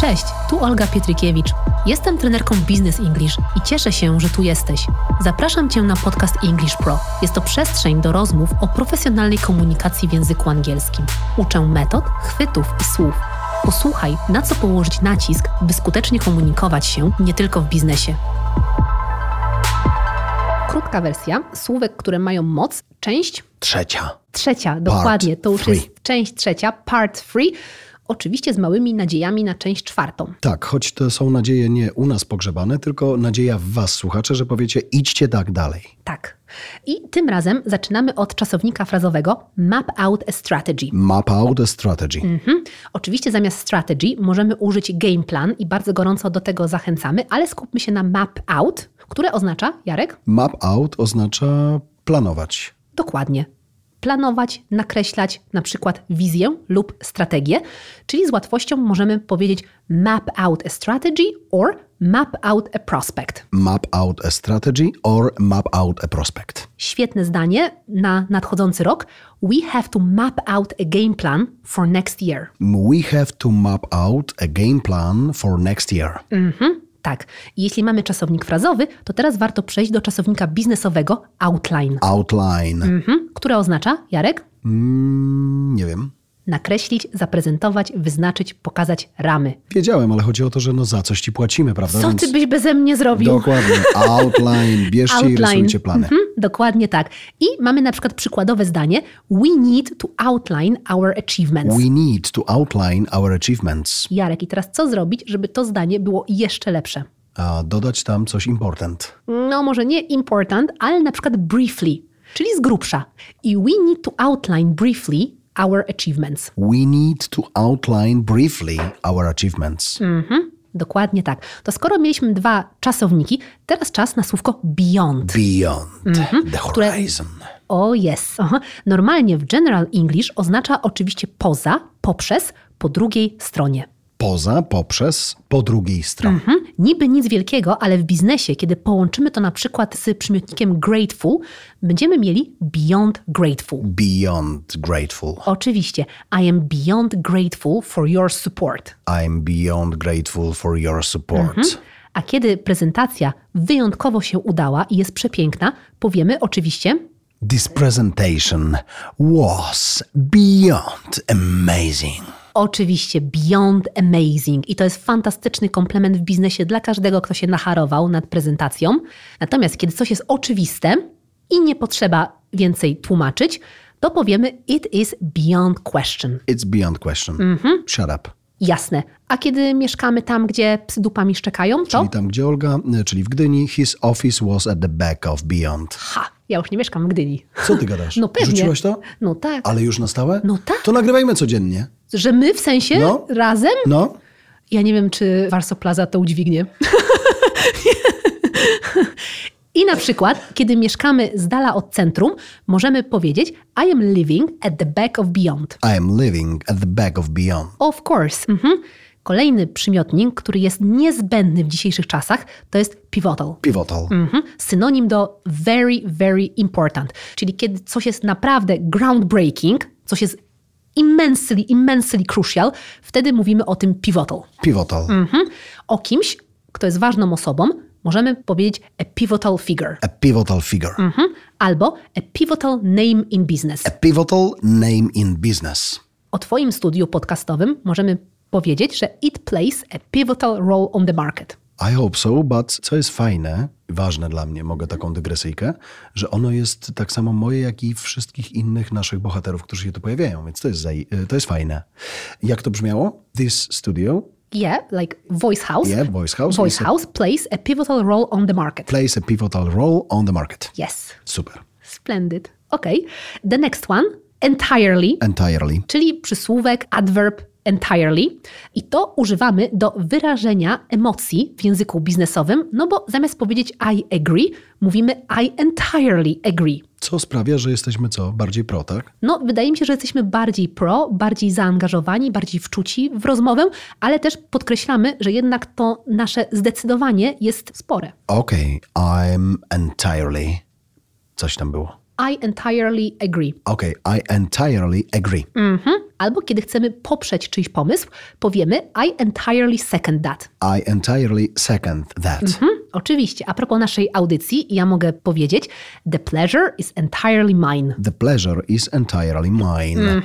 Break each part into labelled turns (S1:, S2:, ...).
S1: Cześć, tu Olga Pietrykiewicz. Jestem trenerką Business English i cieszę się, że tu jesteś. Zapraszam Cię na podcast English Pro. Jest to przestrzeń do rozmów o profesjonalnej komunikacji w języku angielskim. Uczę metod, chwytów i słów. Posłuchaj, na co położyć nacisk, by skutecznie komunikować się nie tylko w biznesie. Krótka wersja, słówek, które mają moc, część
S2: Trzecia.
S1: trzecia, dokładnie. To już
S2: three.
S1: jest część trzecia, part three. Oczywiście z małymi nadziejami na część czwartą.
S2: Tak, choć to są nadzieje nie u nas pogrzebane, tylko nadzieja w Was, słuchacze, że powiecie idźcie tak dalej.
S1: Tak. I tym razem zaczynamy od czasownika frazowego map out a strategy.
S2: Map out a strategy.
S1: Mhm. Oczywiście zamiast strategy możemy użyć game plan i bardzo gorąco do tego zachęcamy, ale skupmy się na map out, które oznacza, Jarek?
S2: Map out oznacza planować.
S1: Dokładnie. Planować, nakreślać na przykład wizję lub strategię, czyli z łatwością możemy powiedzieć map out a strategy or map out a prospect.
S2: Map out a strategy or map out a prospect.
S1: Świetne zdanie na nadchodzący rok. We have to map out a game plan for next year.
S2: We have to map out a game plan for next year.
S1: Mhm, tak. I Jeśli mamy czasownik frazowy, to teraz warto przejść do czasownika biznesowego outline,
S2: Outline.
S1: mhm, które oznacza, Jarek,
S2: Mm, nie wiem.
S1: nakreślić, zaprezentować, wyznaczyć, pokazać ramy.
S2: Wiedziałem, ale chodzi o to, że no za coś ci płacimy, prawda?
S1: Co
S2: Więc-
S1: ty byś beze mnie zrobił?
S2: Dokładnie. Outline. Bierzcie i rysujcie plany.
S1: Mhm, dokładnie tak. I mamy na przykład przykładowe zdanie: We need to outline our achievements.
S2: We need to outline our achievements.
S1: Jarek, i teraz co zrobić, żeby to zdanie było jeszcze lepsze?
S2: A dodać tam coś important.
S1: no może nie important, ale na przykład briefly, czyli z grubsza. I we need to outline briefly our achievements.
S2: We need to outline briefly our achievements.
S1: Mm. Dokładnie tak. To skoro mieliśmy dwa czasowniki, teraz czas na słówko beyond.
S2: Beyond
S1: Mhm.
S2: the horizon.
S1: O jest. Aha. Normalnie w General English oznacza oczywiście poza, poprzez, po drugiej stronie.
S2: Poza, poprzez, po drugiej stronie.
S1: Mhm. Niby nic wielkiego, ale w biznesie, kiedy połączymy to na przykład z przymiotnikiem grateful, będziemy mieli beyond grateful.
S2: Beyond grateful.
S1: Oczywiście, I am beyond grateful for your support.
S2: I'm beyond grateful for your support.
S1: A kiedy prezentacja wyjątkowo się udała i jest przepiękna, powiemy oczywiście
S2: This presentation was beyond amazing.
S1: oczywiście beyond amazing i to jest fantastyczny komplement w biznesie dla każdego, kto się nacharował nad prezentacją. Natomiast kiedy coś jest oczywiste i nie potrzeba więcej tłumaczyć, to powiemy it is beyond question.
S2: It's beyond question.
S1: Mhm.
S2: Shut up.
S1: Jasne. A kiedy mieszkamy tam, gdzie psy dupami szczekają, to
S2: Czyli tam, gdzie Olga, y, czyli w Gdyni, his office was at the back of beyond.
S1: ha, ja już nie mieszkam w Gdyni.
S2: Co ty gadasz?
S1: No pewnie.
S2: Rzuciłaś to?
S1: No tak.
S2: Ale już na stałe?
S1: No tak.
S2: To nagrywajmy codziennie.
S1: Że my w sensie
S2: No.
S1: razem?
S2: No.
S1: Ja nie wiem, czy Warso Plaza to udźwignie. I na przykład, kiedy mieszkamy z dala od centrum, możemy powiedzieć I am living at the back of beyond.
S2: I am living at the back of beyond.
S1: Of course. Mhm. Kolejny przymiotnik, który jest niezbędny w dzisiejszych czasach, to jest pivotal.
S2: Pivotal.
S1: Mhm. Synonim do very, very important. Czyli kiedy coś jest naprawdę groundbreaking, coś jest immensely, immensely crucial, wtedy mówimy o tym pivotal.
S2: Pivotal.
S1: Mhm. O kimś, kto jest ważną osobą, możemy powiedzieć a pivotal figure
S2: A pivotal figure.
S1: mhm. albo a pivotal name in business.
S2: A pivotal name in business.
S1: O Twoim studiu podcastowym możemy powiedzieć, że it plays a pivotal role on the market.
S2: I hope so, but co jest fajne, ważne dla mnie, mogę taką dygresyjkę, że ono jest tak samo moje, jak i wszystkich innych naszych bohaterów, którzy się tu pojawiają, więc to jest, zaje- to jest fajne. Jak to brzmiało? This studio
S1: Yeah, like Voice House.
S2: Yeah, Voice House.
S1: Voice House plays a pivotal role on the market.
S2: plays a pivotal role on the market.
S1: Yes,
S2: Super.
S1: splendid. Okay, the next one entirely.
S2: Entirely.
S1: czyli przysłówek adverb entirely. I to używamy do wyrażenia emocji w języku biznesowym, no bo zamiast powiedzieć I agree, mówimy I entirely agree.
S2: Co sprawia, że jesteśmy co? Bardziej pro, tak?
S1: No, wydaje mi się, że jesteśmy bardziej pro, bardziej zaangażowani, bardziej wczuci w rozmowę, ale też podkreślamy, że jednak to nasze zdecydowanie jest spore.
S2: Okej, I'm entirely. Coś tam było.
S1: I entirely agree.
S2: Okej, I entirely agree.
S1: Mhm. Albo kiedy chcemy poprzeć czyjś pomysł, powiemy I entirely second that.
S2: I entirely second that.
S1: Mhm. Oczywiście, a propos naszej audycji, ja mogę powiedzieć The pleasure is entirely mine.
S2: The pleasure is entirely mine.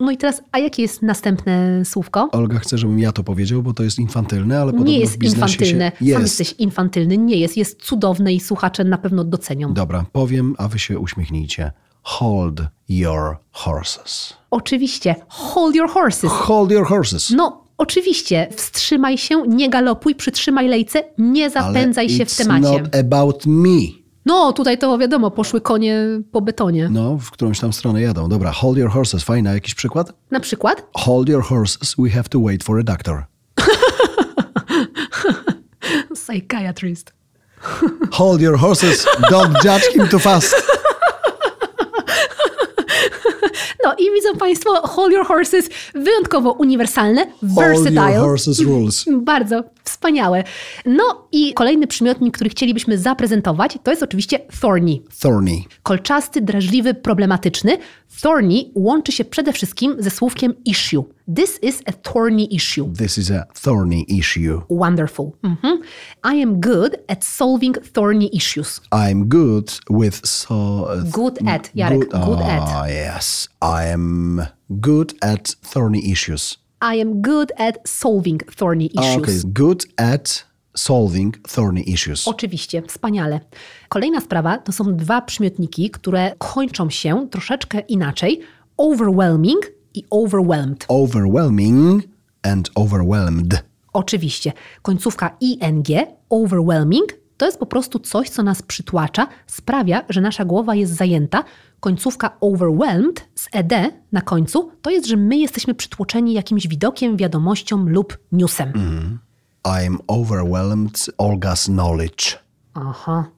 S1: No i teraz, a jakie jest następne słówko?
S2: Olga chce, żebym ja to powiedział, bo to jest infantylne, ale podobno
S1: nie
S2: w
S1: jest
S2: biznesie
S1: infantylne.
S2: się...
S1: Sam
S2: Jest.
S1: jesteś infantylny, nie jest. Jest cudowne i słuchacze na pewno docenią.
S2: Dobra, powiem, a wy się uśmiechnijcie. Hold your horses.
S1: Oczywiście, hold your horses.
S2: Hold your horses.
S1: No, oczywiście, wstrzymaj się, nie galopuj, przytrzymaj lejce, nie zapędzaj
S2: ale
S1: się w
S2: it's
S1: temacie.
S2: not about me.
S1: No, tutaj to wiadomo, poszły konie po betonie.
S2: No, w którąś tam stronę jadą. Dobra, hold your horses. Fajna, jakiś przykład?
S1: Na przykład,
S2: Hold your horses, we have to wait for a doctor.
S1: psychiatrist.
S2: Hold your horses, don't judge him too fast.
S1: No i widzą Państwo, hold your horses, wyjątkowo uniwersalne,
S2: Hold your
S1: versatile.
S2: horses rules.
S1: Bardzo wspaniałe. No i kolejny przymiotnik, który chcielibyśmy zaprezentować, to jest oczywiście thorny.
S2: Thorny.
S1: Kolczasty, drażliwy, problematyczny. Thorny łączy się przede wszystkim ze słówkiem issue. This is a thorny issue.
S2: This is a thorny issue.
S1: Wonderful. Mhm. I am good at solving thorny issues.
S2: I'm good with so.
S1: Good at, Jarek, good at.
S2: Ah, yes. I am good at thorny issues.
S1: I am good at solving thorny issues.
S2: Okay, good at solving thorny issues.
S1: Oczywiście, wspaniale. Kolejna sprawa to są dwa przymiotniki, które kończą się troszeczkę inaczej: overwhelming i overwhelmed.
S2: Overwhelming and overwhelmed.
S1: Oczywiście, końcówka ing, overwhelming, to jest po prostu coś, co nas przytłacza, sprawia, że nasza głowa jest zajęta. Końcówka overwhelmed z ed na końcu to jest, że my jesteśmy przytłoczeni jakimś widokiem, wiadomością lub newsem.
S2: I'm overwhelmed Olga's knowledge.
S1: Aha.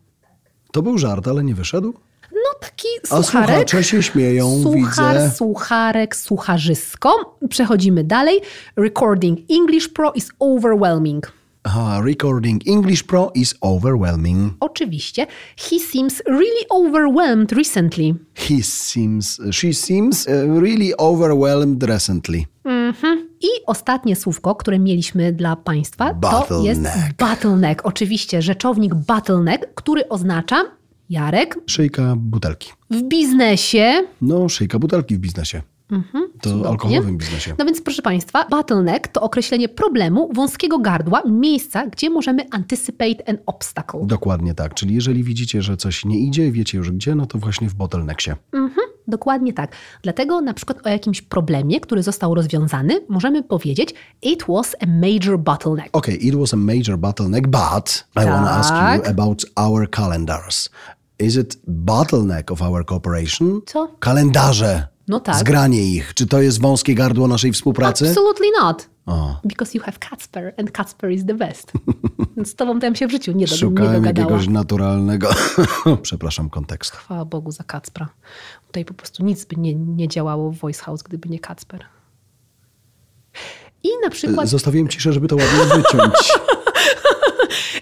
S2: To był żart, ale nie wyszedł.
S1: No taki
S2: A
S1: sucharek.
S2: słuchacze się śmieją,
S1: Suchar,
S2: widzę.
S1: sucharek, sucharzysko. Przechodzimy dalej. Recording English Pro is overwhelming.
S2: Aha, recording English Pro is overwhelming.
S1: Oczywiście. He seems really overwhelmed recently.
S2: He seems, she seems uh, really overwhelmed recently.
S1: I ostatnie słówko, które mieliśmy dla Państwa, to jest
S2: Bottleneck.
S1: bottleneck. Oczywiście rzeczownik bottleneck, który oznacza, Jarek,
S2: Szyjka butelki.
S1: w biznesie
S2: No, szyjka butelki w biznesie. to
S1: Mhm, cudownie.
S2: alkoholowym biznesie.
S1: No więc proszę Państwa, bottleneck to określenie problemu wąskiego gardła, miejsca, gdzie możemy anticipate an obstacle.
S2: Dokładnie tak. Czyli jeżeli widzicie, że coś nie idzie, wiecie już gdzie, no to właśnie w bottlenecksie.
S1: Dokładnie tak. Dlatego na przykład o jakimś problemie, który został rozwiązany, możemy powiedzieć it was a major bottleneck.
S2: Okay, it was a major bottleneck, but I want to ask
S1: Tak.
S2: you about our calendars. Is it bottleneck of our cooperation?
S1: Co?
S2: Kalendarze.
S1: No tak.
S2: Zgranie ich. Czy to jest wąskie gardło naszej współpracy?
S1: Absolutely not.
S2: O.
S1: Because you have Kacper and Kacper is the best. Z tobą to ja bym się w życiu nie, do, nie
S2: Szukałem
S1: dogadała.
S2: jakiegoś naturalnego, przepraszam, kontekstu.
S1: Chwała Bogu za Kacpra. Tutaj po prostu nic by nie, nie działało w Voice House, gdyby nie Kacper. I na przykład
S2: Zostawiłem ciszę, żeby to ładnie wyciąć.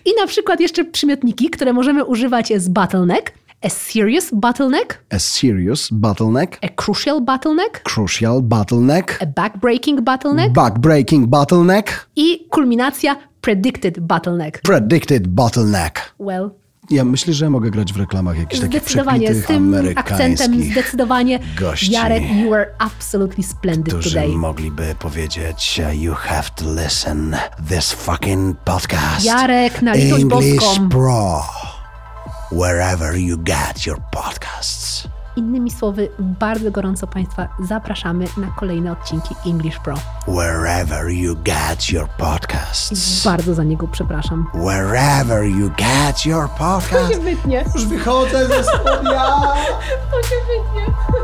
S1: I na przykład jeszcze przymiotniki, które możemy używać z bottleneck. A serious bottleneck,
S2: A serious bottleneck,
S1: a crucial bottleneck,
S2: crucial bottleneck,
S1: a backbreaking bottleneck
S2: bug-breaking bottleneck,
S1: i kulminacja predicted bottleneck.
S2: predicted bottleneck.
S1: Well,
S2: Ja myślę, że mogę grać w reklamach jakichś takich
S1: zdecydowanie z
S2: przepitych
S1: tym akcentem
S2: amerykańskich,
S1: zdecydowanie
S2: gości.
S1: Jarek, you are absolutely splendid
S2: którzy
S1: today.
S2: mogliby powiedzieć You have to listen this fucking podcast.
S1: Jarek, na litość
S2: English
S1: boską.
S2: Pro. Wherever you get your podcasts.
S1: Innymi słowy, bardzo gorąco Państwa zapraszamy na kolejne odcinki English Pro.
S2: Wherever you get your podcasts.
S1: Bardzo za niego przepraszam.
S2: Wherever you get your podcasts.
S1: Wytnie,
S2: Już wychodzę ze studia.
S1: to się wytnie.